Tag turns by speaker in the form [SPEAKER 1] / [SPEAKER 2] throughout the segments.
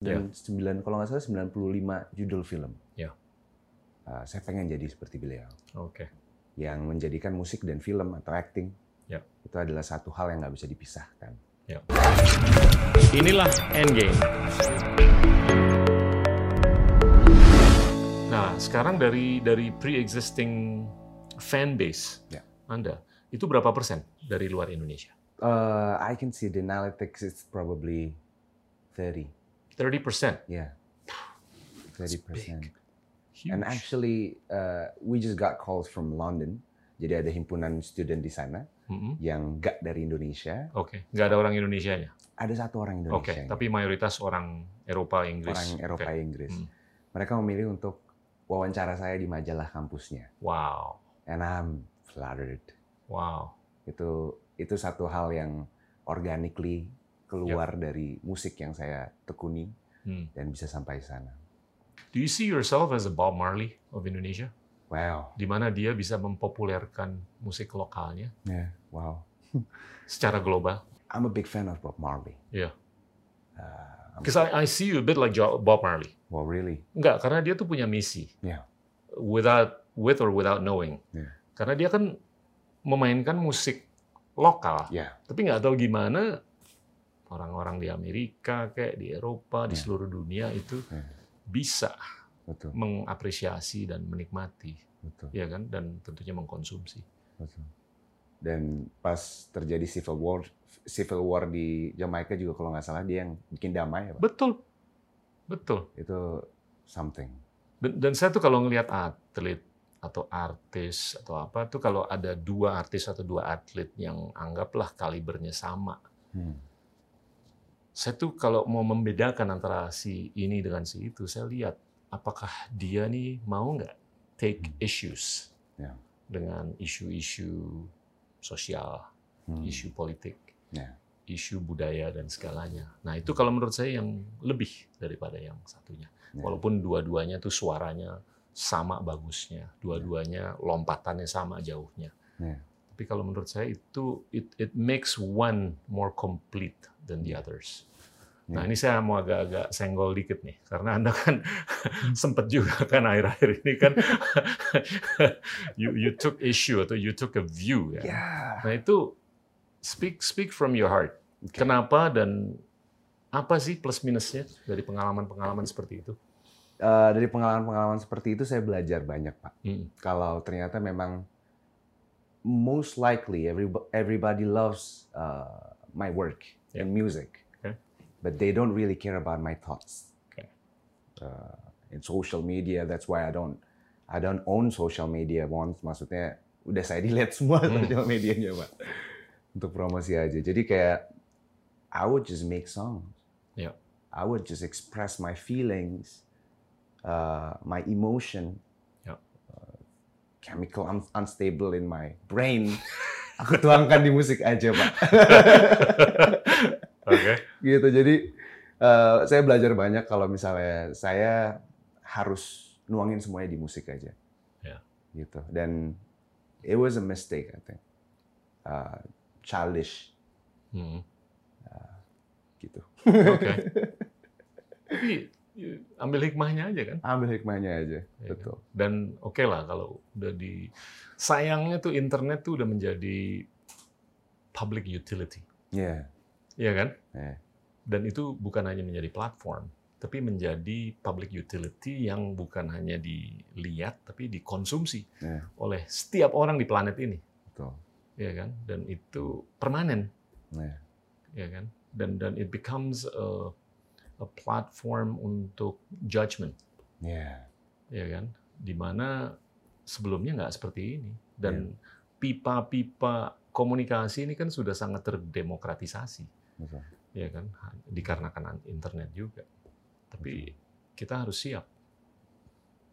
[SPEAKER 1] dan sembilan kalau nggak salah 95 judul film.
[SPEAKER 2] Ya.
[SPEAKER 1] Uh, saya pengen jadi seperti beliau
[SPEAKER 2] Oke.
[SPEAKER 1] yang menjadikan musik dan film atau acting
[SPEAKER 2] Ya.
[SPEAKER 1] itu adalah satu hal yang nggak bisa dipisahkan.
[SPEAKER 2] Inilah Endgame. Nah, sekarang dari dari pre-existing fan base
[SPEAKER 1] Ya.
[SPEAKER 2] Anda, itu berapa persen dari luar Indonesia?
[SPEAKER 1] Uh, I can see the analytics it's probably 30,
[SPEAKER 2] 30 persen.
[SPEAKER 1] yeah, 30 percent.
[SPEAKER 2] big.
[SPEAKER 1] And actually, uh, we just got calls from London. Jadi ada himpunan student di sana yang nggak dari Indonesia.
[SPEAKER 2] Mm-hmm. Oke, nggak ada orang Indonesianya.
[SPEAKER 1] Ada satu orang Indonesia.
[SPEAKER 2] Oke, tapi mayoritas orang Eropa, Inggris.
[SPEAKER 1] orang Eropa
[SPEAKER 2] Oke.
[SPEAKER 1] Inggris.
[SPEAKER 2] Hmm.
[SPEAKER 1] Mereka memilih untuk wawancara saya di majalah kampusnya.
[SPEAKER 2] Wow,
[SPEAKER 1] And I'm flattered.
[SPEAKER 2] wow.
[SPEAKER 1] Itu itu satu hal yang organically keluar dari musik yang saya tekuni
[SPEAKER 2] Hmm.
[SPEAKER 1] dan bisa sampai sana.
[SPEAKER 2] Do you see yourself as a Bob Marley of Indonesia?
[SPEAKER 1] Wow,
[SPEAKER 2] Di mana dia bisa mempopulerkan musik lokalnya
[SPEAKER 1] yeah, wow.
[SPEAKER 2] secara global?
[SPEAKER 1] I'm a big fan of Bob Marley.
[SPEAKER 2] Yeah.
[SPEAKER 1] Uh, I'm-
[SPEAKER 2] Because I, I see you a bit like Jo- Bob Marley.
[SPEAKER 1] well, really,
[SPEAKER 2] Enggak, karena dia tuh punya misi.
[SPEAKER 1] Yeah.
[SPEAKER 2] Without with or without knowing.
[SPEAKER 1] Yeah.
[SPEAKER 2] Karena dia kan memainkan musik lokal,
[SPEAKER 1] yeah,
[SPEAKER 2] tapi nggak tahu gimana orang-orang di Amerika kayak di Eropa, di
[SPEAKER 1] Yeah.
[SPEAKER 2] seluruh dunia itu
[SPEAKER 1] Yeah.
[SPEAKER 2] bisa
[SPEAKER 1] betul,
[SPEAKER 2] mengapresiasi dan menikmati,
[SPEAKER 1] betul,
[SPEAKER 2] ya kan? Dan tentunya mengkonsumsi.
[SPEAKER 1] betul. Dan pas terjadi civil war, civil war di Jamaika juga kalau nggak salah dia yang bikin damai, ya, Pak.
[SPEAKER 2] Betul, betul.
[SPEAKER 1] itu something.
[SPEAKER 2] Dan, dan saya tuh kalau ngelihat atlet atau artis atau apa tuh kalau ada dua artis atau dua atlet yang anggaplah kalibernya sama,
[SPEAKER 1] Hmm.
[SPEAKER 2] saya tuh kalau mau membedakan antara si ini dengan si itu, saya lihat apakah dia nih mau nggak take
[SPEAKER 1] Hmm.
[SPEAKER 2] issues
[SPEAKER 1] Ya.
[SPEAKER 2] dengan isu-isu sosial,
[SPEAKER 1] Hmm.
[SPEAKER 2] isu politik,
[SPEAKER 1] Ya.
[SPEAKER 2] isu budaya dan segalanya. Nah itu kalau menurut saya yang lebih daripada yang satunya.
[SPEAKER 1] Ya.
[SPEAKER 2] Walaupun dua-duanya tuh suaranya sama bagusnya, dua-duanya lompatannya sama jauhnya.
[SPEAKER 1] Ya.
[SPEAKER 2] Tapi kalau menurut saya itu it, it makes one more complete than the others.
[SPEAKER 1] Ya.
[SPEAKER 2] Nah ini saya mau agak-agak senggol dikit nih, karena anda kan sempet juga kan akhir-akhir ini kan you you took issue atau you took a view ya.
[SPEAKER 1] Ya.
[SPEAKER 2] Nah itu speak speak from your heart.
[SPEAKER 1] Oke.
[SPEAKER 2] Kenapa dan apa sih plus minusnya dari pengalaman-pengalaman seperti itu?
[SPEAKER 1] Eh, dari pengalaman-pengalaman seperti itu saya belajar banyak pak. Kalau ternyata memang most likely everyb- everybody loves uh, my work
[SPEAKER 2] Yeah.
[SPEAKER 1] and music,
[SPEAKER 2] Okay.
[SPEAKER 1] but they don't really care about my thoughts.
[SPEAKER 2] Okay.
[SPEAKER 1] Uh, in social media, that's why I don't I don't own social media once. Maksudnya udah saya delete semua
[SPEAKER 2] Hmm.
[SPEAKER 1] social medianya pak untuk promosi aja. Jadi kayak I would just make songs.
[SPEAKER 2] Yeah.
[SPEAKER 1] I would just express my feelings, uh, my emotion.
[SPEAKER 2] Yeah.
[SPEAKER 1] uh, chemical un- unstable in my brain. Aku tuangkan di musik aja, Pak.
[SPEAKER 2] Oke.
[SPEAKER 1] gitu. Jadi eh, saya belajar banyak kalau misalnya saya harus nuangin semuanya di musik aja.
[SPEAKER 2] Ya.
[SPEAKER 1] Gitu. Dan it was a mistake, I think. Uh, childish
[SPEAKER 2] Hmm,
[SPEAKER 1] gitu.
[SPEAKER 2] Oke. Tapi ya, ambil hikmahnya aja kan.
[SPEAKER 1] Ambil hikmahnya aja.
[SPEAKER 2] Ya kan?
[SPEAKER 1] Betul.
[SPEAKER 2] Dan oke lah kalau udah di sayangnya tuh internet tuh udah menjadi public utility,
[SPEAKER 1] Iya.
[SPEAKER 2] ya kan?
[SPEAKER 1] Iya.
[SPEAKER 2] Dan itu bukan hanya menjadi platform, tapi menjadi public utility yang bukan hanya dilihat tapi dikonsumsi
[SPEAKER 1] Iya.
[SPEAKER 2] oleh setiap orang di planet ini,
[SPEAKER 1] Betul.
[SPEAKER 2] ya kan? Dan itu permanen.
[SPEAKER 1] Iya.
[SPEAKER 2] ya kan? Dan dan it becomes a, a platform untuk judgment,
[SPEAKER 1] Iya.
[SPEAKER 2] ya kan? Dimana sebelumnya nggak seperti ini dan pipa-pipa komunikasi ini kan sudah sangat terdemokratisasi,
[SPEAKER 1] Betul.
[SPEAKER 2] ya kan? Ha- Dikarenakan internet juga. Tapi kita harus siap.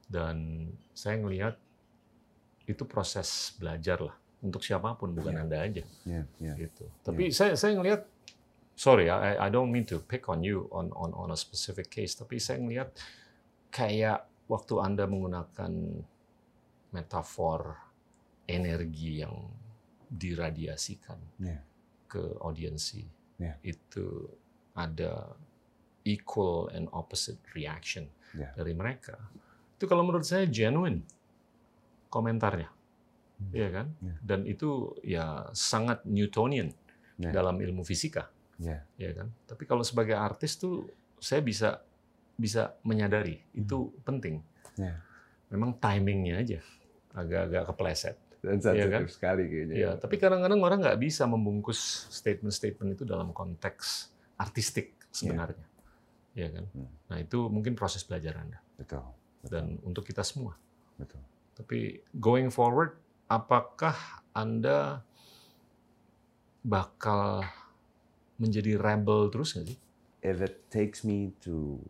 [SPEAKER 2] Dan saya ngelihat itu proses belajar lah untuk siapapun, bukan
[SPEAKER 1] Iya.
[SPEAKER 2] anda aja
[SPEAKER 1] Iya. Iya.
[SPEAKER 2] gitu. Tapi saya saya ngelihat sorry ya, I, I don't mean to pick on you on on on a specific case, tapi saya ngelihat kayak waktu Anda menggunakan metafor energi yang diradiasikan
[SPEAKER 1] Iya.
[SPEAKER 2] ke audiensi.
[SPEAKER 1] Iya.
[SPEAKER 2] Itu ada equal and opposite reaction
[SPEAKER 1] Ya.
[SPEAKER 2] dari mereka. Itu kalau menurut saya genuine komentarnya.
[SPEAKER 1] Hmm.
[SPEAKER 2] Iya kan?
[SPEAKER 1] Ya.
[SPEAKER 2] Dan itu ya sangat Newtonian
[SPEAKER 1] Ya.
[SPEAKER 2] dalam ilmu fisika.
[SPEAKER 1] Ya.
[SPEAKER 2] Iya kan? Tapi kalau sebagai artis tuh saya bisa bisa menyadari itu penting.
[SPEAKER 1] Hmm. Ya.
[SPEAKER 2] Memang timingnya aja agak-agag kepleset.
[SPEAKER 1] Dan sensitif
[SPEAKER 2] kan?
[SPEAKER 1] sekali kayaknya.
[SPEAKER 2] Iya, tapi kadang-kadang orang nggak bisa membungkus statement-statement itu dalam konteks artistik sebenarnya. Iya kan?
[SPEAKER 1] Ya. Hmm.
[SPEAKER 2] Nah, itu mungkin proses belajar Anda
[SPEAKER 1] Betul. betul,
[SPEAKER 2] dan untuk kita semua.
[SPEAKER 1] betul.
[SPEAKER 2] Tapi going forward, apakah Anda bakal menjadi rebel terus nggak sih?
[SPEAKER 1] If it takes me to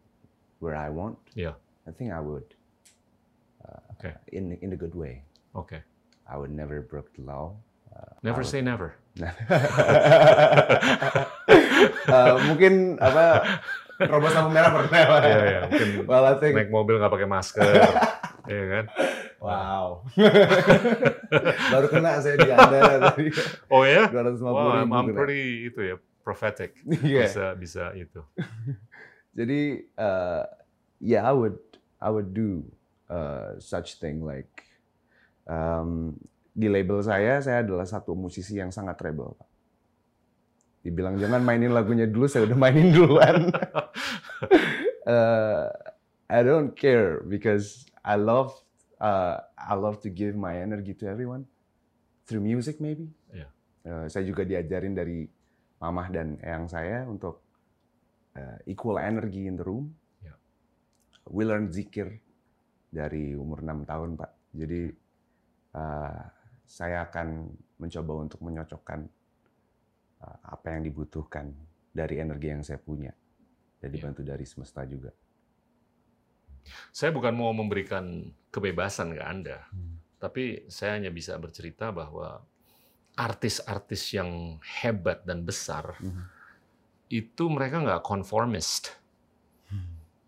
[SPEAKER 1] where I want,
[SPEAKER 2] Ya.
[SPEAKER 1] I think I would. Uh,
[SPEAKER 2] Okay.
[SPEAKER 1] In in a good way.
[SPEAKER 2] Oke.
[SPEAKER 1] I would never broke the law.
[SPEAKER 2] Never
[SPEAKER 1] Apa?
[SPEAKER 2] say never.
[SPEAKER 1] Eh, mungkin apa robos lampu merah pernah. Pak?
[SPEAKER 2] Iya, iya, mungkin
[SPEAKER 1] Well, I think
[SPEAKER 2] naik mobil nggak pakai masker. Iya kan?
[SPEAKER 1] wow. Baru kena saya di Anda tadi
[SPEAKER 2] Oh ya?
[SPEAKER 1] 250
[SPEAKER 2] Wow, I'm,
[SPEAKER 1] ribu.
[SPEAKER 2] I'm
[SPEAKER 1] kena.
[SPEAKER 2] pretty itu ya prophetic.
[SPEAKER 1] Iya.
[SPEAKER 2] Bisa bisa itu.
[SPEAKER 1] Jadi uh, yeah, I would I would do uh, such thing like um, di label saya saya adalah satu musisi yang sangat rebel. Pak. Dibilang jangan mainin lagunya dulu, saya udah mainin duluan. Uh, I don't care because I love uh, I love to give my energy to everyone through music maybe.
[SPEAKER 2] Iya.
[SPEAKER 1] Uh, saya juga diajarin dari mamah dan eyang saya untuk uh, equal energy in the room.
[SPEAKER 2] Iya.
[SPEAKER 1] We learn zikir dari umur 6 tahun pak. Jadi uh, saya akan mencoba untuk menyocokkan uh, apa yang dibutuhkan dari energi yang saya punya dan
[SPEAKER 2] Iya.
[SPEAKER 1] dibantu dari semesta juga.
[SPEAKER 2] Saya bukan mau memberikan kebebasan ke Anda, tapi saya hanya bisa bercerita bahwa artis-artis yang hebat dan besar
[SPEAKER 1] Mhm.
[SPEAKER 2] itu mereka nggak conformist,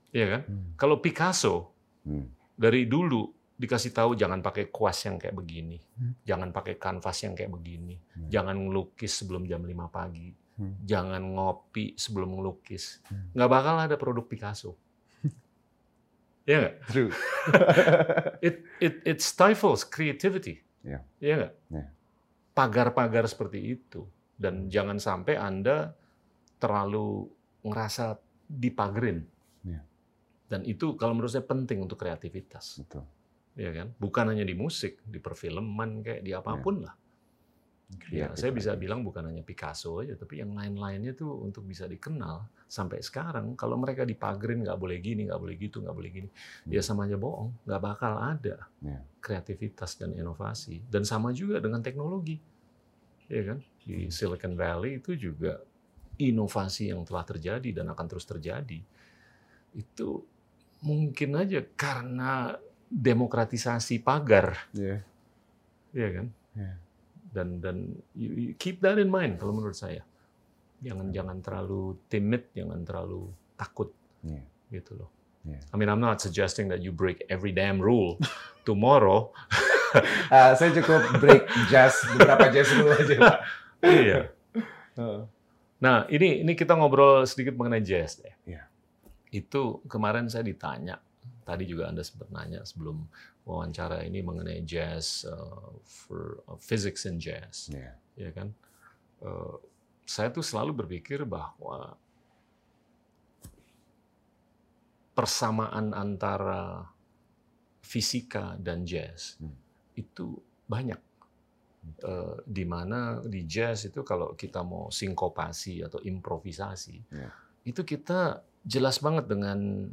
[SPEAKER 2] Iya kan? Kalau Picasso
[SPEAKER 1] Hmm.
[SPEAKER 2] dari dulu dikasih tahu jangan pakai kuas yang kayak begini, jangan pakai kanvas yang kayak begini,
[SPEAKER 1] Hmm.
[SPEAKER 2] jangan ngelukis sebelum jam 5 pagi,
[SPEAKER 1] Hmm.
[SPEAKER 2] jangan ngopi sebelum ngelukis.
[SPEAKER 1] Hmm.
[SPEAKER 2] Nggak bakal ada produk Picasso. Iya nggak?
[SPEAKER 1] True.
[SPEAKER 2] it it it stifles creativity.
[SPEAKER 1] Iya.
[SPEAKER 2] Iya nggak?
[SPEAKER 1] Iya. Hmm.
[SPEAKER 2] Pagar-pagar seperti itu dan jangan sampai anda terlalu ngerasa dipagerin.
[SPEAKER 1] Iya.
[SPEAKER 2] Dan itu kalau menurut saya penting untuk kreativitas,
[SPEAKER 1] Betul.
[SPEAKER 2] ya kan? Bukan hanya di musik, di perfilman kayak di apapun lah.
[SPEAKER 1] Iya,
[SPEAKER 2] Ya, saya bisa bilang bukan hanya Picasso aja, tapi yang lain-lainnya tuh untuk bisa dikenal sampai sekarang. Kalau mereka dipagerin nggak boleh gini, nggak boleh gitu, nggak boleh gini, ya sama aja bohong. Nggak bakal ada
[SPEAKER 1] Ya.
[SPEAKER 2] kreativitas dan inovasi. Dan sama juga dengan teknologi, ya kan? Di
[SPEAKER 1] Hmm.
[SPEAKER 2] Silicon Valley itu juga inovasi yang telah terjadi dan akan terus terjadi itu mungkin aja karena demokratisasi pagar
[SPEAKER 1] Yeah.
[SPEAKER 2] Iya kan?
[SPEAKER 1] Iya.
[SPEAKER 2] Dan dan you- you keep that in mind kalau menurut saya. Jangan jangan terlalu timid, jangan terlalu takut
[SPEAKER 1] Iya.
[SPEAKER 2] gitu loh.
[SPEAKER 1] Iya.
[SPEAKER 2] I mean I'm not suggesting that you break every damn rule tomorrow.
[SPEAKER 1] Ah, saya cukup break jazz beberapa jazz dulu aja. Pak.
[SPEAKER 2] Iya.
[SPEAKER 1] Heeh.
[SPEAKER 2] Nah, ini ini kita ngobrol sedikit mengenai jazz deh.
[SPEAKER 1] Iya.
[SPEAKER 2] Itu kemarin saya ditanya tadi juga Anda sempat nanya sebelum wawancara ini mengenai jazz uh, for uh, physics in jazz.
[SPEAKER 1] Iya.
[SPEAKER 2] ya kan? Eh, saya tuh selalu berpikir bahwa persamaan antara fisika dan jazz
[SPEAKER 1] Hmm.
[SPEAKER 2] itu banyak. Eh, di mana di jazz itu kalau kita mau sinkopasi atau improvisasi,
[SPEAKER 1] Ya.
[SPEAKER 2] itu kita jelas banget dengan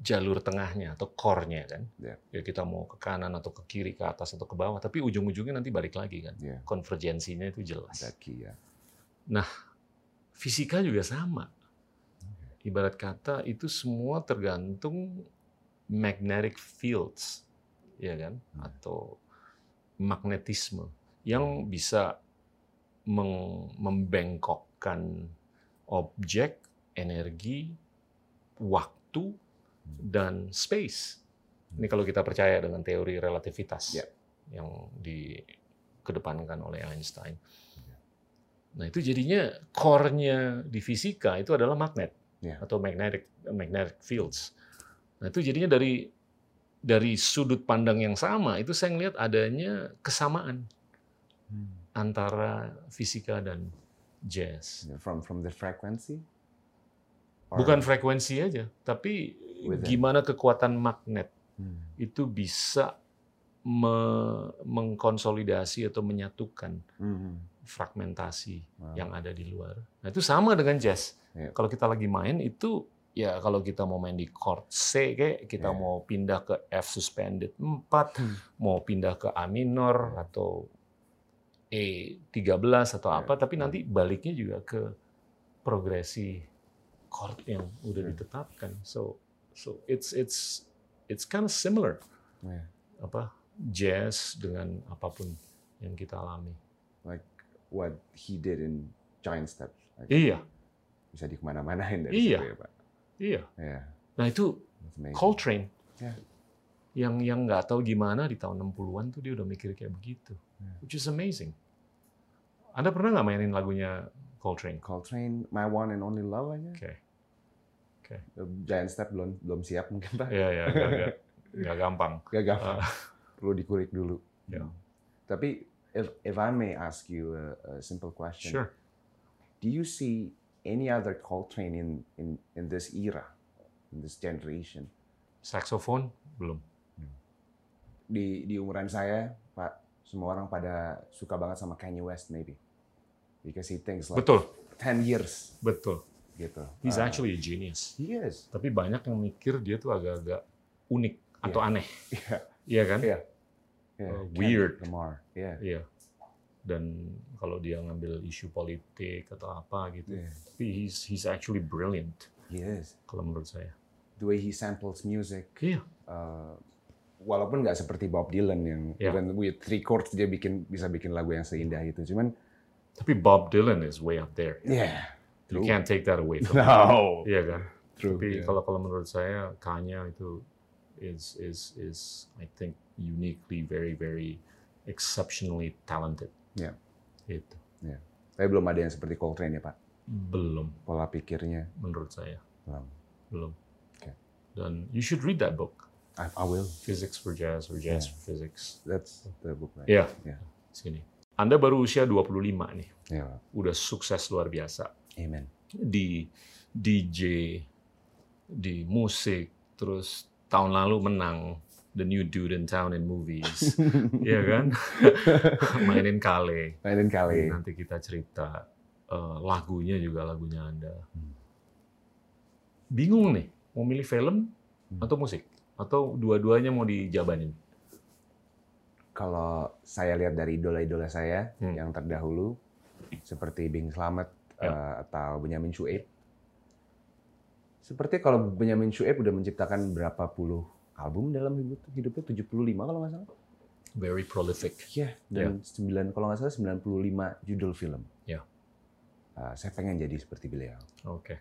[SPEAKER 2] jalur tengahnya atau core-nya kan.
[SPEAKER 1] Ya.
[SPEAKER 2] Ya kita mau ke kanan atau ke kiri, ke atas atau ke bawah, tapi ujung-ujungnya nanti balik lagi kan
[SPEAKER 1] Iya.
[SPEAKER 2] konvergensinya itu jelas.
[SPEAKER 1] Daki ya.
[SPEAKER 2] Fisika juga sama. Ibarat kata itu semua tergantung magnetic fields, ya kan?
[SPEAKER 1] Hmm.
[SPEAKER 2] Atau magnetisme yang bisa meng- membengkokkan objek, energi, waktu, dan space. Ini kalau kita percaya dengan teori relativitas
[SPEAKER 1] Yep.
[SPEAKER 2] yang dikedepankan oleh Einstein. Nah itu jadinya core-nya di fisika itu adalah magnet.
[SPEAKER 1] Iya.
[SPEAKER 2] atau magnetic magnetic fields. Nah itu jadinya dari dari sudut pandang yang sama itu saya ngelihat adanya kesamaan Hmm. antara fisika dan jazz.
[SPEAKER 1] From from the frequency. Or-
[SPEAKER 2] Bukan frekuensi aja, tapi
[SPEAKER 1] Within.
[SPEAKER 2] gimana kekuatan magnet
[SPEAKER 1] Hmm.
[SPEAKER 2] itu bisa me- mengkonsolidasi atau menyatukan
[SPEAKER 1] Hmm.
[SPEAKER 2] fragmentasi
[SPEAKER 1] Wow.
[SPEAKER 2] yang ada di luar. Nah itu sama dengan jazz.
[SPEAKER 1] Iya.
[SPEAKER 2] Kalau kita lagi main itu ya kalau kita mau main di chord C kayak kita
[SPEAKER 1] Iya.
[SPEAKER 2] mau pindah ke F suspended 4,
[SPEAKER 1] Hmm.
[SPEAKER 2] mau pindah ke A minor
[SPEAKER 1] Iya.
[SPEAKER 2] atau E 13 atau
[SPEAKER 1] Iya.
[SPEAKER 2] apa tapi nanti baliknya juga ke progresi chord yang udah
[SPEAKER 1] Hmm.
[SPEAKER 2] ditetapkan. So so it's it's it's kind of similar
[SPEAKER 1] Iya.
[SPEAKER 2] apa jazz dengan apapun yang kita alami.
[SPEAKER 1] Like what he did in Giant Steps. Like,
[SPEAKER 2] Iya,
[SPEAKER 1] bisa di kemana-manain dari
[SPEAKER 2] Eh. Iya.
[SPEAKER 1] situ ya Pak.
[SPEAKER 2] iya.
[SPEAKER 1] Yeah,
[SPEAKER 2] Nah itu
[SPEAKER 1] that's amazing.
[SPEAKER 2] Coltrane.
[SPEAKER 1] Ya.
[SPEAKER 2] Yang yang nggak tahu gimana di tahun 60-an tuh dia udah mikir kayak begitu.
[SPEAKER 1] Ya.
[SPEAKER 2] Which is amazing. Anda pernah nggak mainin lagunya Coltrane?
[SPEAKER 1] Coltrane, My One and Only Love aja.
[SPEAKER 2] Oke.
[SPEAKER 1] Giant Step belum belum siap mungkin Pak.
[SPEAKER 2] Iya, iya, nggak- nggak- nggak gampang.
[SPEAKER 1] Gak gampang. Perlu dikulik dulu. Hmm.
[SPEAKER 2] Ah. Ya.
[SPEAKER 1] Tapi if if I may ask you a, a simple question,
[SPEAKER 2] Sure.
[SPEAKER 1] do you see any other Coltrane in in in this era, in this generation?
[SPEAKER 2] Saxophone belum.
[SPEAKER 1] Di di umuran saya, Pak, semua orang pada suka banget sama Kanye West maybe. Because he thinks like
[SPEAKER 2] Betul,
[SPEAKER 1] 10 years
[SPEAKER 2] betul.
[SPEAKER 1] gitu.
[SPEAKER 2] He's
[SPEAKER 1] Ah,
[SPEAKER 2] actually a genius.
[SPEAKER 1] he is.
[SPEAKER 2] Tapi banyak yang mikir dia tuh agak-agak unik atau aneh.
[SPEAKER 1] Iya.
[SPEAKER 2] Iya kan?
[SPEAKER 1] Iya. Yeah,
[SPEAKER 2] Uh,
[SPEAKER 1] Kendrick
[SPEAKER 2] weird.
[SPEAKER 1] Lamar. Yeah.
[SPEAKER 2] Iya. Dan kalau dia ngambil isu politik atau apa gitu.
[SPEAKER 1] Yeah.
[SPEAKER 2] Tapi he's he's actually brilliant
[SPEAKER 1] He is.
[SPEAKER 2] kalau menurut saya.
[SPEAKER 1] The way he samples music.
[SPEAKER 2] Iya.
[SPEAKER 1] uh, walaupun nggak seperti Bob Dylan yang
[SPEAKER 2] Yeah.
[SPEAKER 1] even with three chords dia bikin bisa bikin lagu yang seindah itu. Cuman
[SPEAKER 2] Tapi Bob Dylan is way up there.
[SPEAKER 1] yeah.
[SPEAKER 2] You can't take that away from him.
[SPEAKER 1] No.
[SPEAKER 2] Iya kan?
[SPEAKER 1] True.
[SPEAKER 2] Tapi
[SPEAKER 1] yeah.
[SPEAKER 2] kalau kalau menurut saya Kanye itu is is is I think uniquely very very exceptionally talented.
[SPEAKER 1] Yeah.
[SPEAKER 2] Itu
[SPEAKER 1] Tapi belum ada yang seperti Coltrane ya Pak.
[SPEAKER 2] belum
[SPEAKER 1] Pola pikirnya
[SPEAKER 2] menurut saya
[SPEAKER 1] belum.
[SPEAKER 2] belum.
[SPEAKER 1] Oke.
[SPEAKER 2] Dan you should read that book
[SPEAKER 1] I, I will.
[SPEAKER 2] Physics for Jazz or Jazz for Physics.
[SPEAKER 1] That's the book. Right?
[SPEAKER 2] Iya.
[SPEAKER 1] Yeah.
[SPEAKER 2] Sini. Anda baru usia 25 nih,
[SPEAKER 1] Yeah, Pak.
[SPEAKER 2] udah sukses luar biasa.
[SPEAKER 1] Amen.
[SPEAKER 2] di DJ, di musik, terus tahun lalu menang The New Dude in Town in Movies, ya kan? Mainin Kale,
[SPEAKER 1] Lain kali.
[SPEAKER 2] nanti kita cerita eh, lagunya juga lagunya Anda.
[SPEAKER 1] Hmm.
[SPEAKER 2] Bingung nih, mau milih film
[SPEAKER 1] Hmm.
[SPEAKER 2] atau musik? Atau dua-duanya mau dijabanin?
[SPEAKER 1] Kalau saya lihat dari idola-idola saya
[SPEAKER 2] Hmm.
[SPEAKER 1] yang terdahulu seperti Bing Slamet
[SPEAKER 2] Ya.
[SPEAKER 1] eh, atau Benyamin Sueb. Seperti kalau Benyamin Sueb udah menciptakan berapa puluh album dalam hidup- hidupnya 75 kalau nggak salah.
[SPEAKER 2] Very prolific.
[SPEAKER 1] Iya, dan 9 kalau nggak salah 95 judul film.
[SPEAKER 2] Ya.
[SPEAKER 1] Eh, saya pengen jadi seperti beliau
[SPEAKER 2] Oke.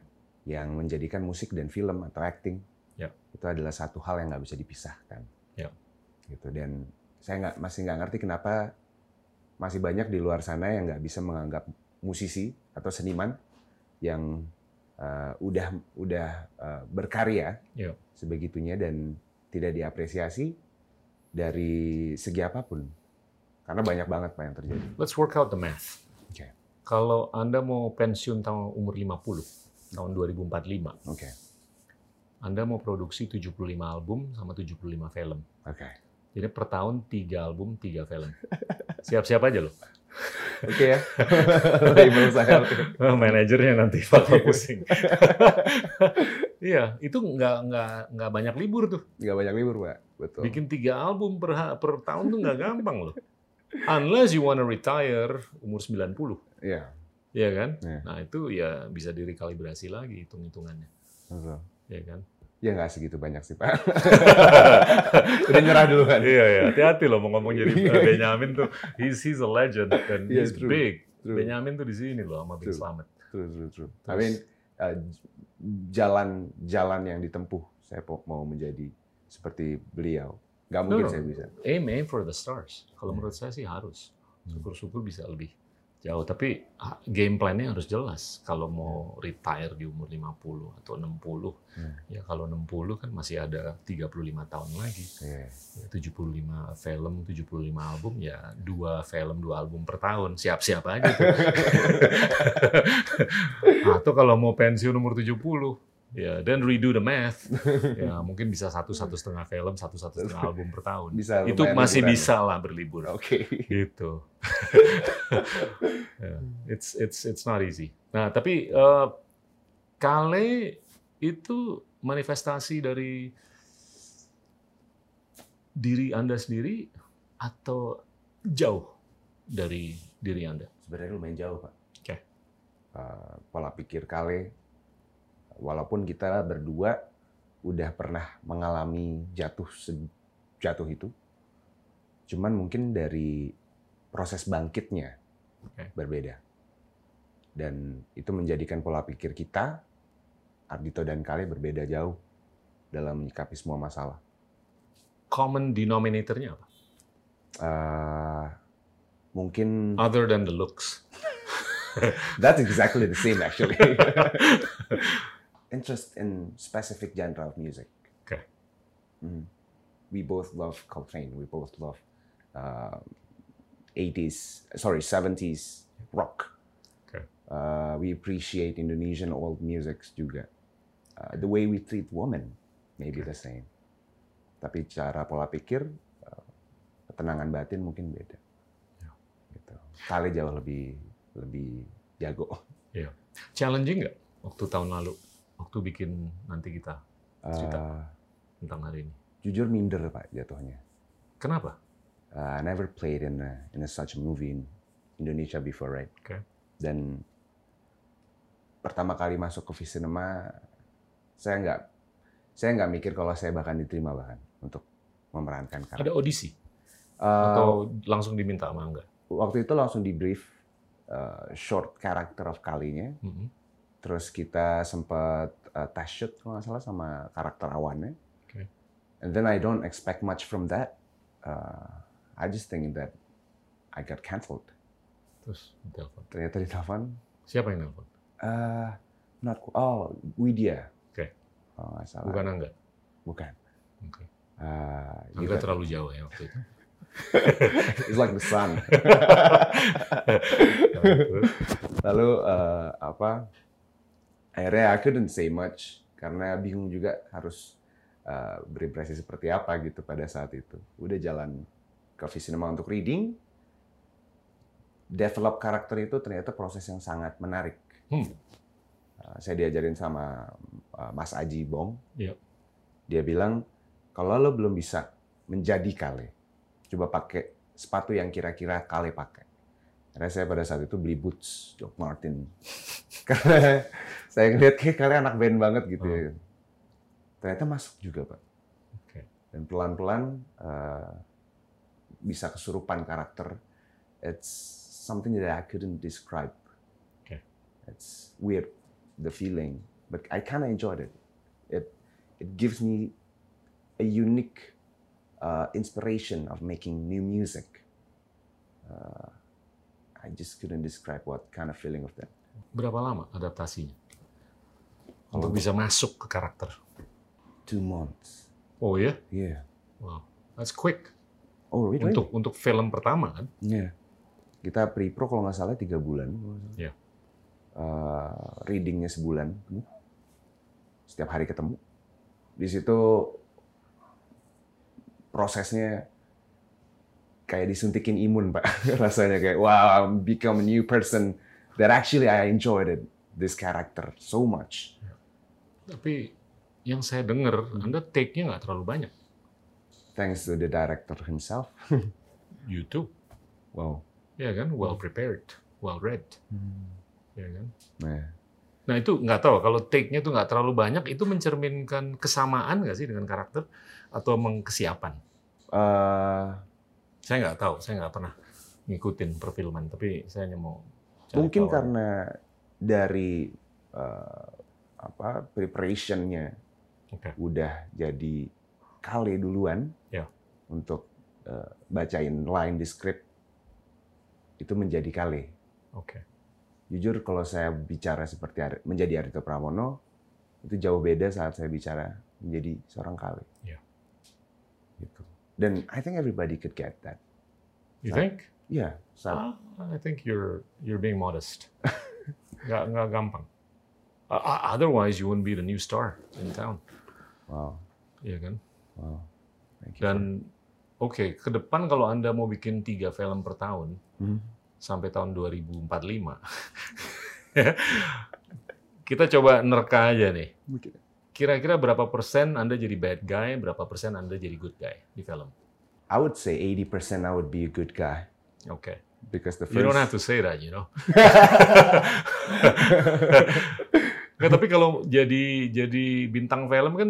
[SPEAKER 1] yang menjadikan musik dan film atau acting
[SPEAKER 2] Ya.
[SPEAKER 1] itu adalah satu hal yang nggak bisa dipisahkan.
[SPEAKER 2] Ya.
[SPEAKER 1] Gitu dan saya nggak masih nggak ngerti kenapa masih banyak di luar sana yang nggak bisa menganggap musisi atau seniman yang eh, udah udah eh, berkarya
[SPEAKER 2] Ya.
[SPEAKER 1] sebegitunya dan tidak diapresiasi dari segi apapun karena banyak banget pak yang terjadi.
[SPEAKER 2] Let's work out the math.
[SPEAKER 1] Oke.
[SPEAKER 2] Kalau Anda mau pensiun tahun umur 50, tahun 2045,
[SPEAKER 1] Oke
[SPEAKER 2] Anda mau produksi 75 album sama 75 film.
[SPEAKER 1] oke
[SPEAKER 2] Jadi per tahun 3 album, 3 film. Siap-siap aja loh.
[SPEAKER 1] oke ya. Label saya.
[SPEAKER 2] Manajernya nanti bakal pusing. Iya, itu nggak nggak nggak banyak libur tuh.
[SPEAKER 1] nggak banyak libur pak betul.
[SPEAKER 2] Bikin 3 album per, ha- per tahun tuh nggak gampang loh. Unless you wanna retire umur 90,
[SPEAKER 1] Iya.
[SPEAKER 2] ya kan?
[SPEAKER 1] Iya.
[SPEAKER 2] Nah, itu ya bisa direkalibrasi lagi hitung-hitungannya,
[SPEAKER 1] betul.
[SPEAKER 2] ya kan?
[SPEAKER 1] Ya nggak segitu banyak sih Pak. Udah nyerah kan? duluan.
[SPEAKER 2] Iya ya, hati-hati loh mau ngomong jadi eh, Benyamin tuh. He's he's a legend and
[SPEAKER 1] Iya,
[SPEAKER 2] he's
[SPEAKER 1] true.
[SPEAKER 2] big.
[SPEAKER 1] True.
[SPEAKER 2] Benyamin tuh di sini loh sama Big
[SPEAKER 1] True.
[SPEAKER 2] Slamet.
[SPEAKER 1] True, true, true.
[SPEAKER 2] Terus.
[SPEAKER 1] I mean, uh, j- jalan jalan yang ditempuh saya po- mau menjadi seperti beliau. Nggak mungkin
[SPEAKER 2] no.
[SPEAKER 1] saya bisa.
[SPEAKER 2] Aim aim for the stars. Kalau
[SPEAKER 1] Hmm.
[SPEAKER 2] menurut saya sih harus. Syukur-syukur bisa lebih Jauh, tapi ah, game plan-nya harus jelas. Kalau mau retire di umur 50 atau 60,
[SPEAKER 1] Iya. Hmm.
[SPEAKER 2] ya kalau 60 kan masih ada 35 tahun lagi.
[SPEAKER 1] Iya.
[SPEAKER 2] Ya, 75 film, 75 album, ya dua film, dua album per tahun. Siap-siap aja tuh. atau kalau mau pensiun umur 70, ya then redo the math. Ya mungkin bisa satu, satu setengah film, satu, satu setengah album per tahun.
[SPEAKER 1] Bisa
[SPEAKER 2] Itu
[SPEAKER 1] lumayan
[SPEAKER 2] masih
[SPEAKER 1] liburan.
[SPEAKER 2] bisa lah berlibur
[SPEAKER 1] Oke.
[SPEAKER 2] gitu. Ya, It's it's it's not easy. Nah tapi eh, Kale itu manifestasi dari diri anda sendiri atau jauh dari diri anda?
[SPEAKER 1] Sebenarnya lumayan jauh, Pak.
[SPEAKER 2] Oke.
[SPEAKER 1] Eh, pola pikir Kale walaupun kita berdua udah pernah mengalami jatuh se- jatuh itu. Cuman mungkin dari proses bangkitnya
[SPEAKER 2] Oke.
[SPEAKER 1] berbeda. Dan itu menjadikan pola pikir kita Ardito dan Kale berbeda jauh dalam menyikapi semua masalah.
[SPEAKER 2] Common denominatornya apa?
[SPEAKER 1] Eh, mungkin
[SPEAKER 2] Other than the looks.
[SPEAKER 1] That's exactly the same actually. Interest in specific genre of music.
[SPEAKER 2] Okay.
[SPEAKER 1] Mhm. We both love Coltrane. We both love um, 80s, sorry, 70s rock.
[SPEAKER 2] Okay.
[SPEAKER 1] Uh, we appreciate Indonesian old music juga. Uh, the way we treat women may be the same. Tapi cara pola pikir, uh, ketenangan batin mungkin beda. Gitu. Kali jauh lebih lebih jago.
[SPEAKER 2] Challenging nggak waktu tahun lalu? Waktu bikin nanti kita Cerita.
[SPEAKER 1] Eh,
[SPEAKER 2] tentang hari ini.
[SPEAKER 1] jujur minder pak jatuhnya.
[SPEAKER 2] Kenapa?
[SPEAKER 1] Uh, I never played in a, in a such a movie in Indonesia before, right?
[SPEAKER 2] Oke.
[SPEAKER 1] Dan pertama kali masuk ke Visinema, saya nggak saya nggak mikir kalau saya bahkan diterima bahkan untuk memerankan Kak.
[SPEAKER 2] Ada audisi
[SPEAKER 1] Uh,
[SPEAKER 2] atau langsung diminta sama enggak?
[SPEAKER 1] waktu itu langsung di brief uh, short character of kalinya, terus kita sempat uh, test shoot kalau nggak salah sama karakter awannya.
[SPEAKER 2] Oke.
[SPEAKER 1] And then I don't expect much from that. Uh, I just think that I got cancelled.
[SPEAKER 2] Terus telepon.
[SPEAKER 1] Ternyata ditelepon,
[SPEAKER 2] Siapa yang nelfon?
[SPEAKER 1] uh, not oh Widya.
[SPEAKER 2] Oke.
[SPEAKER 1] Oh nggak salah.
[SPEAKER 2] Bukan Angga.
[SPEAKER 1] Bukan.
[SPEAKER 2] Oke.
[SPEAKER 1] Uh, you
[SPEAKER 2] Angga
[SPEAKER 1] got-
[SPEAKER 2] terlalu jauh ya waktu itu.
[SPEAKER 1] it's like the sun.
[SPEAKER 2] Terus,
[SPEAKER 1] Lalu eh, apa? Akhirnya I couldn't say much karena bingung juga harus eh, berimpresi seperti apa gitu pada saat itu. Udah jalan ke Cinema untuk reading. Develop karakter itu ternyata proses yang sangat menarik.
[SPEAKER 2] Hmm.
[SPEAKER 1] Eh, saya diajarin sama eh, Mas Aji Bong.
[SPEAKER 2] Iya.
[SPEAKER 1] Dia bilang kalau lo belum bisa menjadi kale, coba pakai sepatu yang kira-kira kale pakai. Karena saya pada saat itu beli boots Doc Martin. Karena saya ngeliat kayak kalian anak band banget gitu. ya. Ternyata masuk juga pak.
[SPEAKER 2] Hmm. Oke.
[SPEAKER 1] Dan pelan-pelan eh, bisa kesurupan karakter. It's something that I couldn't describe.
[SPEAKER 2] Oke.
[SPEAKER 1] It's weird the feeling, but I kinda enjoyed it. It it gives me a unique uh, inspiration of making new music. Uh, I just couldn't describe what kind of feeling of that.
[SPEAKER 2] Berapa lama adaptasinya?
[SPEAKER 1] Kalau
[SPEAKER 2] Untuk bisa masuk ke karakter.
[SPEAKER 1] Two months.
[SPEAKER 2] Oh ya?
[SPEAKER 1] Yeah.
[SPEAKER 2] Iya, Wow. That's quick.
[SPEAKER 1] Oh, really?
[SPEAKER 2] Untuk untuk film pertama kan?
[SPEAKER 1] Yeah. Kita pre-pro kalau nggak salah tiga bulan.
[SPEAKER 2] Iya.
[SPEAKER 1] Uh, readingnya sebulan. penuh. Setiap hari ketemu. Di situ prosesnya kayak disuntikin imun, Pak. Rasanya kayak, wow, I'm become a new person that actually I enjoyed it, this character so much.
[SPEAKER 2] Tapi yang saya dengar, Anda take-nya nggak terlalu banyak.
[SPEAKER 1] Thanks to the director himself.
[SPEAKER 2] YouTube,
[SPEAKER 1] Wow.
[SPEAKER 2] ya kan? Well prepared, well read, ya kan?
[SPEAKER 1] Nah,
[SPEAKER 2] Nah itu nggak tahu kalau take-nya tuh nggak terlalu banyak itu mencerminkan kesamaan nggak sih dengan karakter atau mengkesiapan?
[SPEAKER 1] eh,
[SPEAKER 2] Saya nggak tahu, saya nggak pernah ngikutin perfilman, tapi saya hanya mau cari
[SPEAKER 1] mungkin
[SPEAKER 2] tahu.
[SPEAKER 1] karena dari eh, apa preparationnya
[SPEAKER 2] Oke.
[SPEAKER 1] udah jadi kali duluan
[SPEAKER 2] Ya.
[SPEAKER 1] untuk eh, bacain line di script itu menjadi kali
[SPEAKER 2] Oke.
[SPEAKER 1] Jujur kalau saya bicara seperti Ari- menjadi Arito Pramono itu jauh beda saat saya bicara menjadi seorang KW.
[SPEAKER 2] Iya.
[SPEAKER 1] Gitu. Dan I think everybody could get that.
[SPEAKER 2] You
[SPEAKER 1] Nah,
[SPEAKER 2] think?
[SPEAKER 1] Ya, saat-
[SPEAKER 2] Ah, I think you're you're being modest. nggak nggak gampang. O- o- Otherwise you wouldn't be the new star in town,
[SPEAKER 1] wow,
[SPEAKER 2] ya kan?
[SPEAKER 1] wow. Thank you.
[SPEAKER 2] Dan oke, ke depan kalau anda mau bikin tiga film per tahun
[SPEAKER 1] Hmm.
[SPEAKER 2] sampai tahun 2045, ya, kita coba nerka aja nih.
[SPEAKER 1] Mungkin.
[SPEAKER 2] Kira-kira berapa persen anda jadi bad guy, berapa persen anda jadi good guy di film?
[SPEAKER 1] I would say 80% I would be a good guy
[SPEAKER 2] Oke.
[SPEAKER 1] because the first
[SPEAKER 2] You don't have to say that, you know. Nggak, tapi kalau jadi jadi bintang film kan,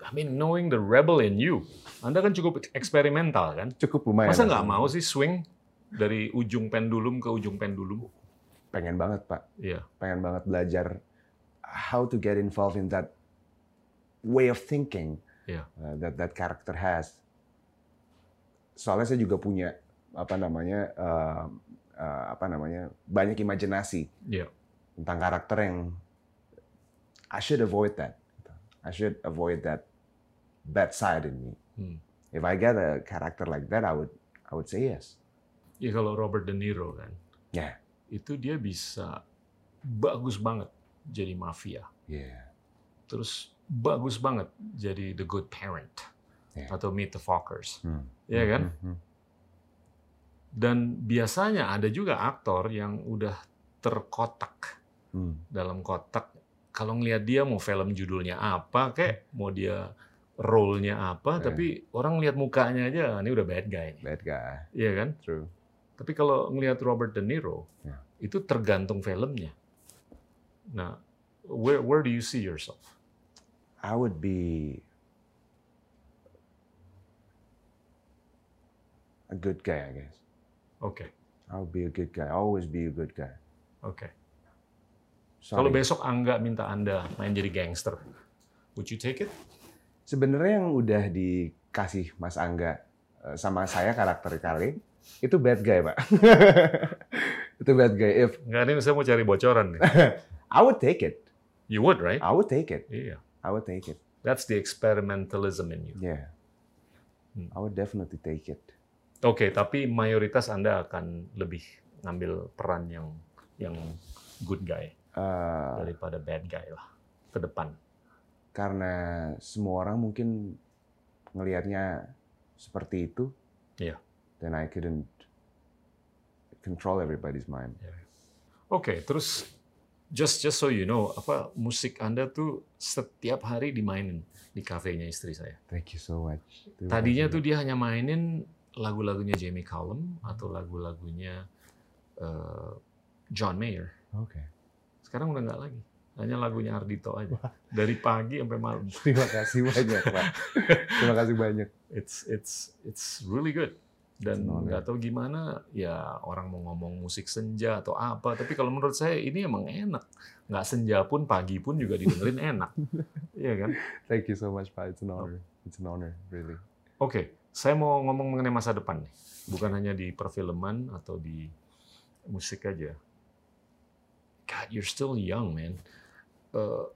[SPEAKER 2] I mean knowing the rebel in you, Anda kan cukup eksperimental kan.
[SPEAKER 1] cukup lumayan.
[SPEAKER 2] Masa nggak mau sih swing dari ujung pendulum ke ujung pendulum?
[SPEAKER 1] Pengen banget, Pak.
[SPEAKER 2] Iya.
[SPEAKER 1] Pengen banget belajar how to get involved in that way of thinking
[SPEAKER 2] Iya.
[SPEAKER 1] uh, that that character has. Soalnya saya juga punya apa namanya uh, uh, apa namanya banyak imajinasi
[SPEAKER 2] Iya.
[SPEAKER 1] tentang karakter yang I should avoid that. I should avoid that bad side in me.
[SPEAKER 2] Hmm.
[SPEAKER 1] If I get a character like that, I would I would say yes.
[SPEAKER 2] Ya kalau Robert De Niro kan,
[SPEAKER 1] Ya.
[SPEAKER 2] itu dia bisa bagus banget jadi mafia,
[SPEAKER 1] Yeah.
[SPEAKER 2] terus bagus banget jadi the good parent
[SPEAKER 1] Iya.
[SPEAKER 2] atau meet the fuckers,
[SPEAKER 1] Hmm.
[SPEAKER 2] Iya kan?
[SPEAKER 1] Mhm.
[SPEAKER 2] Dan biasanya ada juga aktor yang udah terkotak
[SPEAKER 1] Hmm.
[SPEAKER 2] dalam kotak. Kalau ngelihat dia mau film judulnya apa, kayak mau dia role-nya
[SPEAKER 1] Eh.
[SPEAKER 2] apa, tapi orang lihat mukanya aja, "Ah, ini udah bad guy nih.
[SPEAKER 1] Bad guy.
[SPEAKER 2] Iya kan?
[SPEAKER 1] True.
[SPEAKER 2] Tapi kalau ngelihat Robert De Niro,
[SPEAKER 1] Ya.
[SPEAKER 2] itu tergantung filmnya. Nah, where where do you see yourself?
[SPEAKER 1] I would be a good guy, I guess.
[SPEAKER 2] Oke,
[SPEAKER 1] I would be a good guy. Always be a good guy.
[SPEAKER 2] oke.
[SPEAKER 1] Sorry.
[SPEAKER 2] Kalau besok Angga minta Anda main jadi gangster, would you take it?
[SPEAKER 1] Sebenarnya yang udah dikasih Mas Angga eh, sama saya karakter kali itu bad guy, Pak. itu bad guy. If
[SPEAKER 2] Nggak, ini saya mau cari bocoran nih.
[SPEAKER 1] I would take it.
[SPEAKER 2] You would, right?
[SPEAKER 1] I would take it.
[SPEAKER 2] Iya.
[SPEAKER 1] I would take it.
[SPEAKER 2] That's the experimentalism in you.
[SPEAKER 1] Yeah.
[SPEAKER 2] Hmm.
[SPEAKER 1] I would definitely take it.
[SPEAKER 2] Oke, tapi mayoritas Anda akan lebih ngambil peran yang yang good guy
[SPEAKER 1] Eh,
[SPEAKER 2] daripada bad guy lah ke depan.
[SPEAKER 1] karena semua orang mungkin ngelihatnya seperti itu.
[SPEAKER 2] Iya.
[SPEAKER 1] Then I couldn't control everybody's mind.
[SPEAKER 2] Oke, terus just just so you know, apa musik Anda tuh setiap hari dimainin di kafenya istri saya.
[SPEAKER 1] Thank you so much. Terima
[SPEAKER 2] Tadinya
[SPEAKER 1] kasih.
[SPEAKER 2] tuh dia hanya mainin lagu-lagunya Jamie Cullum atau lagu-lagunya eh, John Mayer.
[SPEAKER 1] Oke.
[SPEAKER 2] Sekarang udah nggak lagi. Hanya lagunya Ardito aja. Dari pagi sampai malam.
[SPEAKER 1] Terima kasih banyak, Pak. Terima kasih banyak.
[SPEAKER 2] it's it's it's really good
[SPEAKER 1] It's
[SPEAKER 2] dan
[SPEAKER 1] an honor.
[SPEAKER 2] nggak tahu gimana ya orang mau ngomong musik senja atau apa tapi kalau menurut saya ini emang enak nggak senja pun pagi pun juga didengerin enak Iya kan
[SPEAKER 1] Thank you so much, Pak. It's an honor. It's an honor, really.
[SPEAKER 2] oke saya mau ngomong mengenai masa depan nih bukan hanya di perfilman atau di musik aja God you're still young man Eh,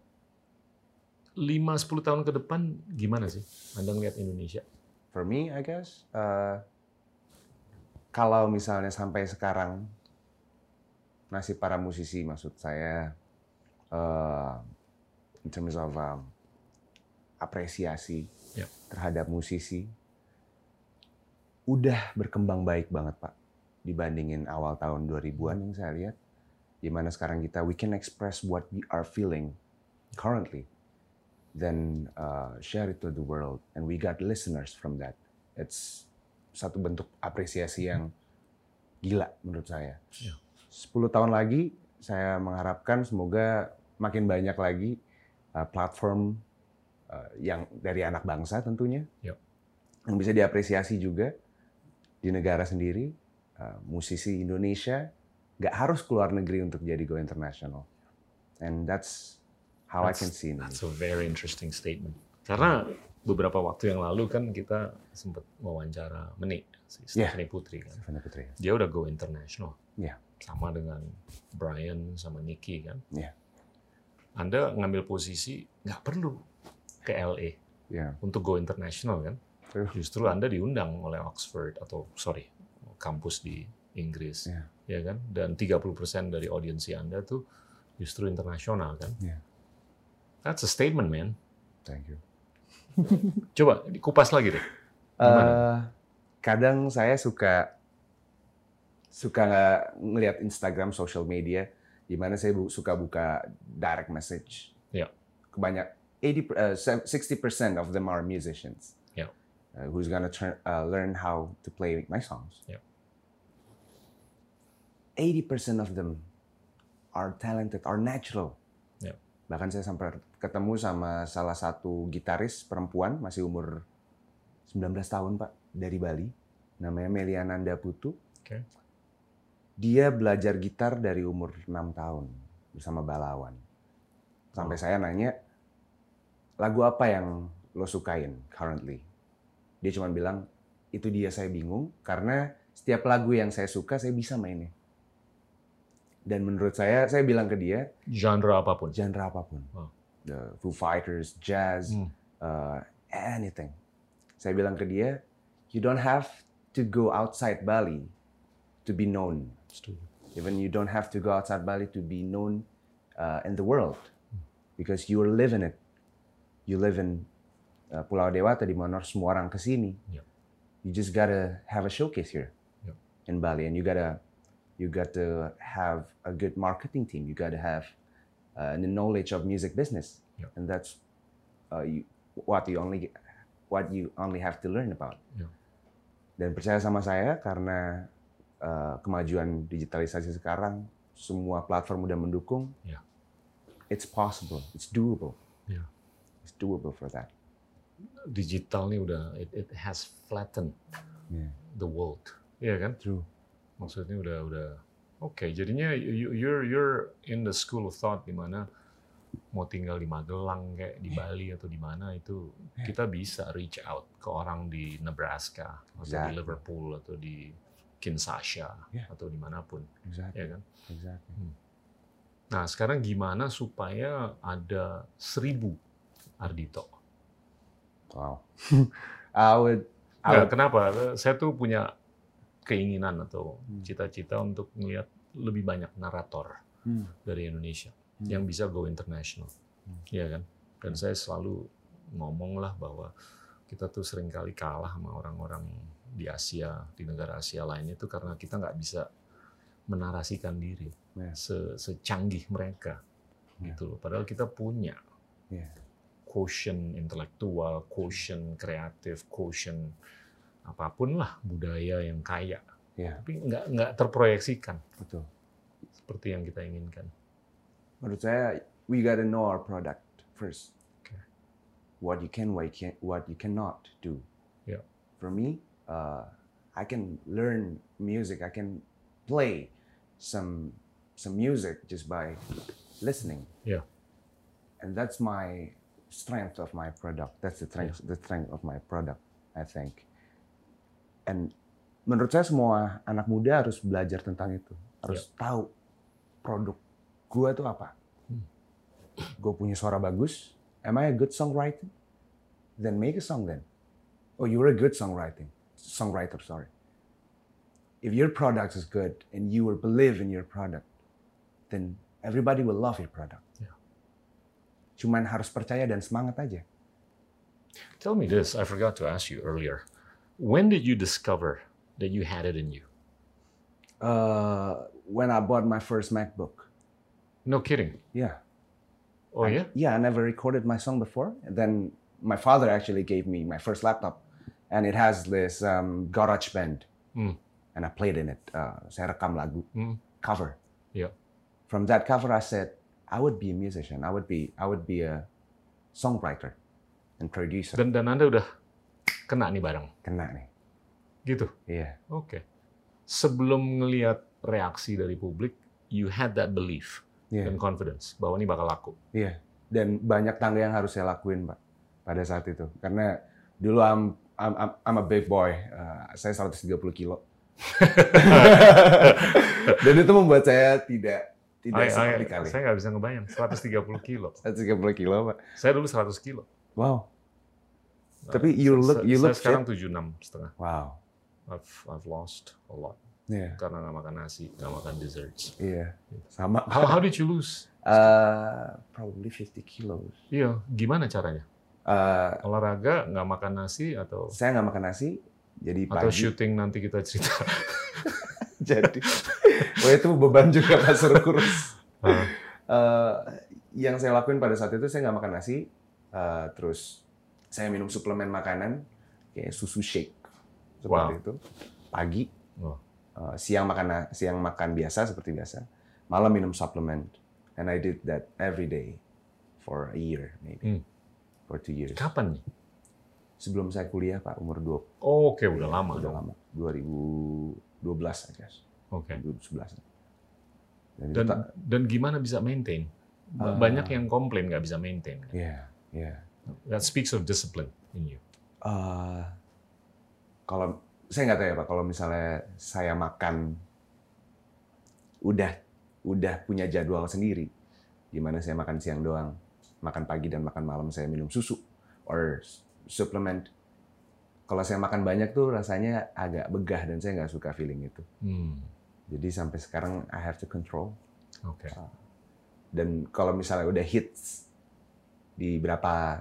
[SPEAKER 2] lima 5-10 tahun ke depan gimana sih Anda ngelihat Indonesia
[SPEAKER 1] For me, I guess, uh, kalau misalnya sampai sekarang nasib para musisi, maksud saya, uh, in terms of um, apresiasi
[SPEAKER 2] Ya.
[SPEAKER 1] terhadap musisi, udah berkembang baik banget, Pak, dibandingin awal tahun 2000-an yang saya lihat, dimana sekarang kita we can express what we are feeling currently. then uh, share it to the world and we got listeners from that it's satu bentuk apresiasi yang gila menurut saya
[SPEAKER 2] Iya.
[SPEAKER 1] 10 tahun lagi saya mengharapkan semoga makin banyak lagi uh, platform uh, yang dari anak bangsa tentunya
[SPEAKER 2] Iya.
[SPEAKER 1] yang bisa diapresiasi juga di negara sendiri uh, musisi Indonesia nggak harus keluar negeri untuk jadi go international and that's how I
[SPEAKER 2] That's-
[SPEAKER 1] can see Indonesia.
[SPEAKER 2] That's a very interesting statement. Karena beberapa waktu yang lalu kan kita sempat wawancara Menik, si
[SPEAKER 1] Yeah.
[SPEAKER 2] Stephanie Putri kan.
[SPEAKER 1] Stefania Putri.
[SPEAKER 2] Dia udah go international.
[SPEAKER 1] Yeah.
[SPEAKER 2] sama dengan Brian sama Nicky kan.
[SPEAKER 1] Iya.
[SPEAKER 2] Anda ngambil posisi nggak perlu ke LA
[SPEAKER 1] Ya.
[SPEAKER 2] untuk go international kan.
[SPEAKER 1] True.
[SPEAKER 2] Justru Anda diundang oleh Oxford atau sorry kampus di Inggris
[SPEAKER 1] Iya.
[SPEAKER 2] ya kan dan 30% dari audiensi Anda tuh justru internasional kan.
[SPEAKER 1] Iya.
[SPEAKER 2] That's a statement man.
[SPEAKER 1] Thank you.
[SPEAKER 2] Coba dikupas lagi deh. Gimana?
[SPEAKER 1] Eh, kadang saya suka suka ngelihat Instagram, social media, di mana saya bu- suka buka direct message.
[SPEAKER 2] Ya.
[SPEAKER 1] Kebanyak 80, eh, 60% of them are musicians.
[SPEAKER 2] Ya.
[SPEAKER 1] Eh, who's gonna turn, eh, learn how to play my songs.
[SPEAKER 2] Ya.
[SPEAKER 1] 80% of them are talented, are natural.
[SPEAKER 2] Ya.
[SPEAKER 1] Bahkan saya sampai ketemu sama salah satu gitaris perempuan masih umur 19 tahun, Pak, dari Bali. Namanya Meliananda Putu.
[SPEAKER 2] Oke.
[SPEAKER 1] Dia belajar gitar dari umur 6 tahun bersama Balawan. Sampai saya nanya, lagu apa yang lo sukain currently? Dia cuma bilang, itu dia saya bingung karena setiap lagu yang saya suka saya bisa mainnya. Dan menurut saya, saya bilang ke dia,
[SPEAKER 2] Genre apapun.
[SPEAKER 1] genre apapun.
[SPEAKER 2] Wow.
[SPEAKER 1] The Foo Fighters, jazz,
[SPEAKER 2] Hmm.
[SPEAKER 1] uh, anything. Saya bilang ke dia, you don't have to go outside Bali to be known.
[SPEAKER 2] Setuju.
[SPEAKER 1] Even you don't have to go outside Bali to be known uh, in the world, because you are living it. You live in uh, Pulau Dewata di mana semua orang kesini.
[SPEAKER 2] Yeah.
[SPEAKER 1] You just gotta have a showcase here
[SPEAKER 2] Yeah.
[SPEAKER 1] in Bali, and you gotta you got to have a good marketing team. You got to have uh, the knowledge of music business,
[SPEAKER 2] Yeah.
[SPEAKER 1] and that's uh, you, what you only what you only have to learn about.
[SPEAKER 2] Yeah.
[SPEAKER 1] Dan percaya sama saya karena uh, kemajuan digitalisasi sekarang, semua platform udah mendukung.
[SPEAKER 2] Yeah.
[SPEAKER 1] It's possible. It's doable.
[SPEAKER 2] Yeah.
[SPEAKER 1] It's doable for that.
[SPEAKER 2] Digital nih udah it, it has flattened
[SPEAKER 1] Yeah.
[SPEAKER 2] the world. Iya kan?
[SPEAKER 1] True.
[SPEAKER 2] Maksudnya udah udah oke. jadinya you, you're you're in the school of thought di mana mau tinggal di Magelang kayak di Bali atau di mana itu kita bisa reach out ke orang di Nebraska atau di
[SPEAKER 1] Exactly.
[SPEAKER 2] Liverpool atau di Kinshasa
[SPEAKER 1] Yeah.
[SPEAKER 2] atau dimanapun,
[SPEAKER 1] Exactly.
[SPEAKER 2] ya kan?
[SPEAKER 1] Exactly.
[SPEAKER 2] Nah sekarang gimana supaya ada seribu Ardito?
[SPEAKER 1] Wow. I would. I
[SPEAKER 2] Nggak,
[SPEAKER 1] would
[SPEAKER 2] kenapa? Saya tuh punya keinginan atau
[SPEAKER 1] Hmm.
[SPEAKER 2] cita-cita untuk melihat lebih banyak narator
[SPEAKER 1] Hmm.
[SPEAKER 2] dari Indonesia
[SPEAKER 1] Hmm.
[SPEAKER 2] yang bisa go international,
[SPEAKER 1] Hmm.
[SPEAKER 2] Iya kan? Dan saya selalu ngomong lah bahwa kita tuh seringkali kalah sama orang-orang di Asia, di negara Asia lainnya itu karena kita nggak bisa menarasikan diri
[SPEAKER 1] Yeah.
[SPEAKER 2] se- secanggih mereka,
[SPEAKER 1] Yeah.
[SPEAKER 2] gitu loh. Padahal kita punya
[SPEAKER 1] Yeah.
[SPEAKER 2] quotient intelektual,
[SPEAKER 1] Hmm.
[SPEAKER 2] quotient kreatif, quotient apapun lah budaya yang kaya,
[SPEAKER 1] Yeah.
[SPEAKER 2] tapi nggak nggak terproyeksikan
[SPEAKER 1] Betul.
[SPEAKER 2] seperti yang kita inginkan.
[SPEAKER 1] menurut saya "Ah, we gotta know our product first.
[SPEAKER 2] Okay.
[SPEAKER 1] What you can, what you can, what you cannot do.
[SPEAKER 2] Yeah.
[SPEAKER 1] For me, uh, I can learn music. I can play some some music just by listening.
[SPEAKER 2] Yeah.
[SPEAKER 1] And that's my strength of my product. That's the strength the strength of my product. I think. And menurut saya semua anak muda harus belajar tentang itu. Harus tahu produk gua tuh apa.
[SPEAKER 2] Hmm.
[SPEAKER 1] Gue punya suara bagus. Am I a good songwriter? Then make a song then. Oh, you're a good songwriting songwriter. Sorry. If your product is good and you will believe in your product, then everybody will love your product.
[SPEAKER 2] Yeah.
[SPEAKER 1] Cuman harus percaya dan semangat aja.
[SPEAKER 2] Tell me this, I forgot to ask you earlier. When did you discover that you had it in you?
[SPEAKER 1] Uh, when I bought my first MacBook,
[SPEAKER 2] No kidding.
[SPEAKER 1] yeah,
[SPEAKER 2] Oh
[SPEAKER 1] I-
[SPEAKER 2] ya?
[SPEAKER 1] Yeah, I never recorded my song before. And then my father actually gave me my first laptop, and it has this um, garage band,
[SPEAKER 2] Hmm.
[SPEAKER 1] and I played in it. Uh, saya rekam lagu
[SPEAKER 2] Hmm.
[SPEAKER 1] cover.
[SPEAKER 2] Yeah.
[SPEAKER 1] From that cover, I said I would be a musician. I would be I would be a songwriter and producer.
[SPEAKER 2] Dan dan Anda udah kena nih barang.
[SPEAKER 1] Kena nih.
[SPEAKER 2] Gitu.
[SPEAKER 1] Iya.
[SPEAKER 2] Oke. Sebelum ngelihat reaksi dari publik, you had that belief
[SPEAKER 1] Iya.
[SPEAKER 2] and confidence bahwa ini bakal laku.
[SPEAKER 1] dan banyak tangga yang harus saya lakuin pak pada saat Eh, itu karena dulu I'm I'm I'm, I'm a big boy Uh, saya 130 kilo Dan itu membuat saya tidak tidak
[SPEAKER 2] Ay- ay-
[SPEAKER 1] sekali kali.
[SPEAKER 2] saya nggak bisa ngebayang 130 kilo.
[SPEAKER 1] 130 kilo, Pak.
[SPEAKER 2] Saya dulu 100 kilo.
[SPEAKER 1] Wow.
[SPEAKER 2] Nah,
[SPEAKER 1] Tapi you look- you
[SPEAKER 2] saya
[SPEAKER 1] look
[SPEAKER 2] sekarang 76 setengah.
[SPEAKER 1] Wow.
[SPEAKER 2] I've, I've lost a lot
[SPEAKER 1] Iya.
[SPEAKER 2] karena nggak makan nasi, nggak makan desserts.
[SPEAKER 1] Iya. Sama.
[SPEAKER 2] How, how did you lose?
[SPEAKER 1] Eh, probably 50 kilos.
[SPEAKER 2] Iya, gimana caranya?
[SPEAKER 1] Eh,
[SPEAKER 2] Olahraga, nggak makan nasi atau
[SPEAKER 1] saya nggak makan nasi, jadi
[SPEAKER 2] atau
[SPEAKER 1] pagi.
[SPEAKER 2] syuting nanti kita cerita.
[SPEAKER 1] Jadi, wah itu beban juga Pak Surkurus.
[SPEAKER 2] Ah.
[SPEAKER 1] Eh, yang saya lakuin pada saat itu saya nggak makan nasi, eh, terus saya minum suplemen makanan kayak susu shake seperti
[SPEAKER 2] Wow.
[SPEAKER 1] itu. Pagi,
[SPEAKER 2] Wow.
[SPEAKER 1] eh, siang makan na- siang makan biasa seperti biasa, malam minum suplemen, and I did that every day for a year maybe,
[SPEAKER 2] Hmm.
[SPEAKER 1] for two years.
[SPEAKER 2] Kapan nih?
[SPEAKER 1] Sebelum saya kuliah Pak, umur 20
[SPEAKER 2] Oh, Oke, udah lama
[SPEAKER 1] udah
[SPEAKER 2] dong.
[SPEAKER 1] lama, 2012 I guess.
[SPEAKER 2] Oke.
[SPEAKER 1] 2011. Dan, itu tak-
[SPEAKER 2] Dan dan gimana bisa maintain? Ba-
[SPEAKER 1] Ah.
[SPEAKER 2] Banyak yang komplain nggak bisa maintain.
[SPEAKER 1] Iya, iya.
[SPEAKER 2] That speaks of discipline in you.
[SPEAKER 1] Eh, kalau saya nggak tahu ya pak, kalau misalnya saya makan udah udah punya jadwal sendiri, gimana saya makan siang doang, makan pagi dan makan malam saya minum susu or supplement. Kalau saya makan banyak tuh rasanya agak begah dan saya nggak suka feeling itu.
[SPEAKER 2] Hmm,
[SPEAKER 1] Jadi sampai sekarang I have to control.
[SPEAKER 2] Oke.
[SPEAKER 1] dan kalau misalnya udah hits di berapa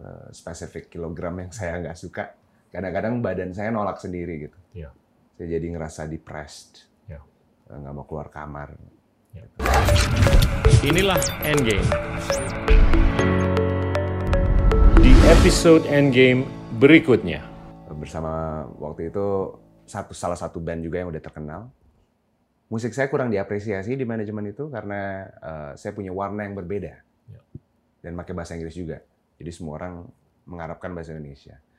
[SPEAKER 1] eh, spesifik kilogram yang saya nggak suka, kadang-kadang badan saya nolak sendiri gitu.
[SPEAKER 2] Iya.
[SPEAKER 1] Saya jadi ngerasa depressed,
[SPEAKER 2] Iya.
[SPEAKER 1] Eh, nggak mau keluar kamar.
[SPEAKER 2] Inilah Endgame. Di episode Endgame berikutnya.
[SPEAKER 1] Eh, Bersama waktu itu satu salah satu band juga yang udah terkenal. Musik saya kurang diapresiasi di manajemen itu karena eh, saya punya warna yang berbeda
[SPEAKER 2] Iya.
[SPEAKER 1] dan pakai bahasa Inggris juga. Jadi semua orang mengharapkan bahasa Indonesia.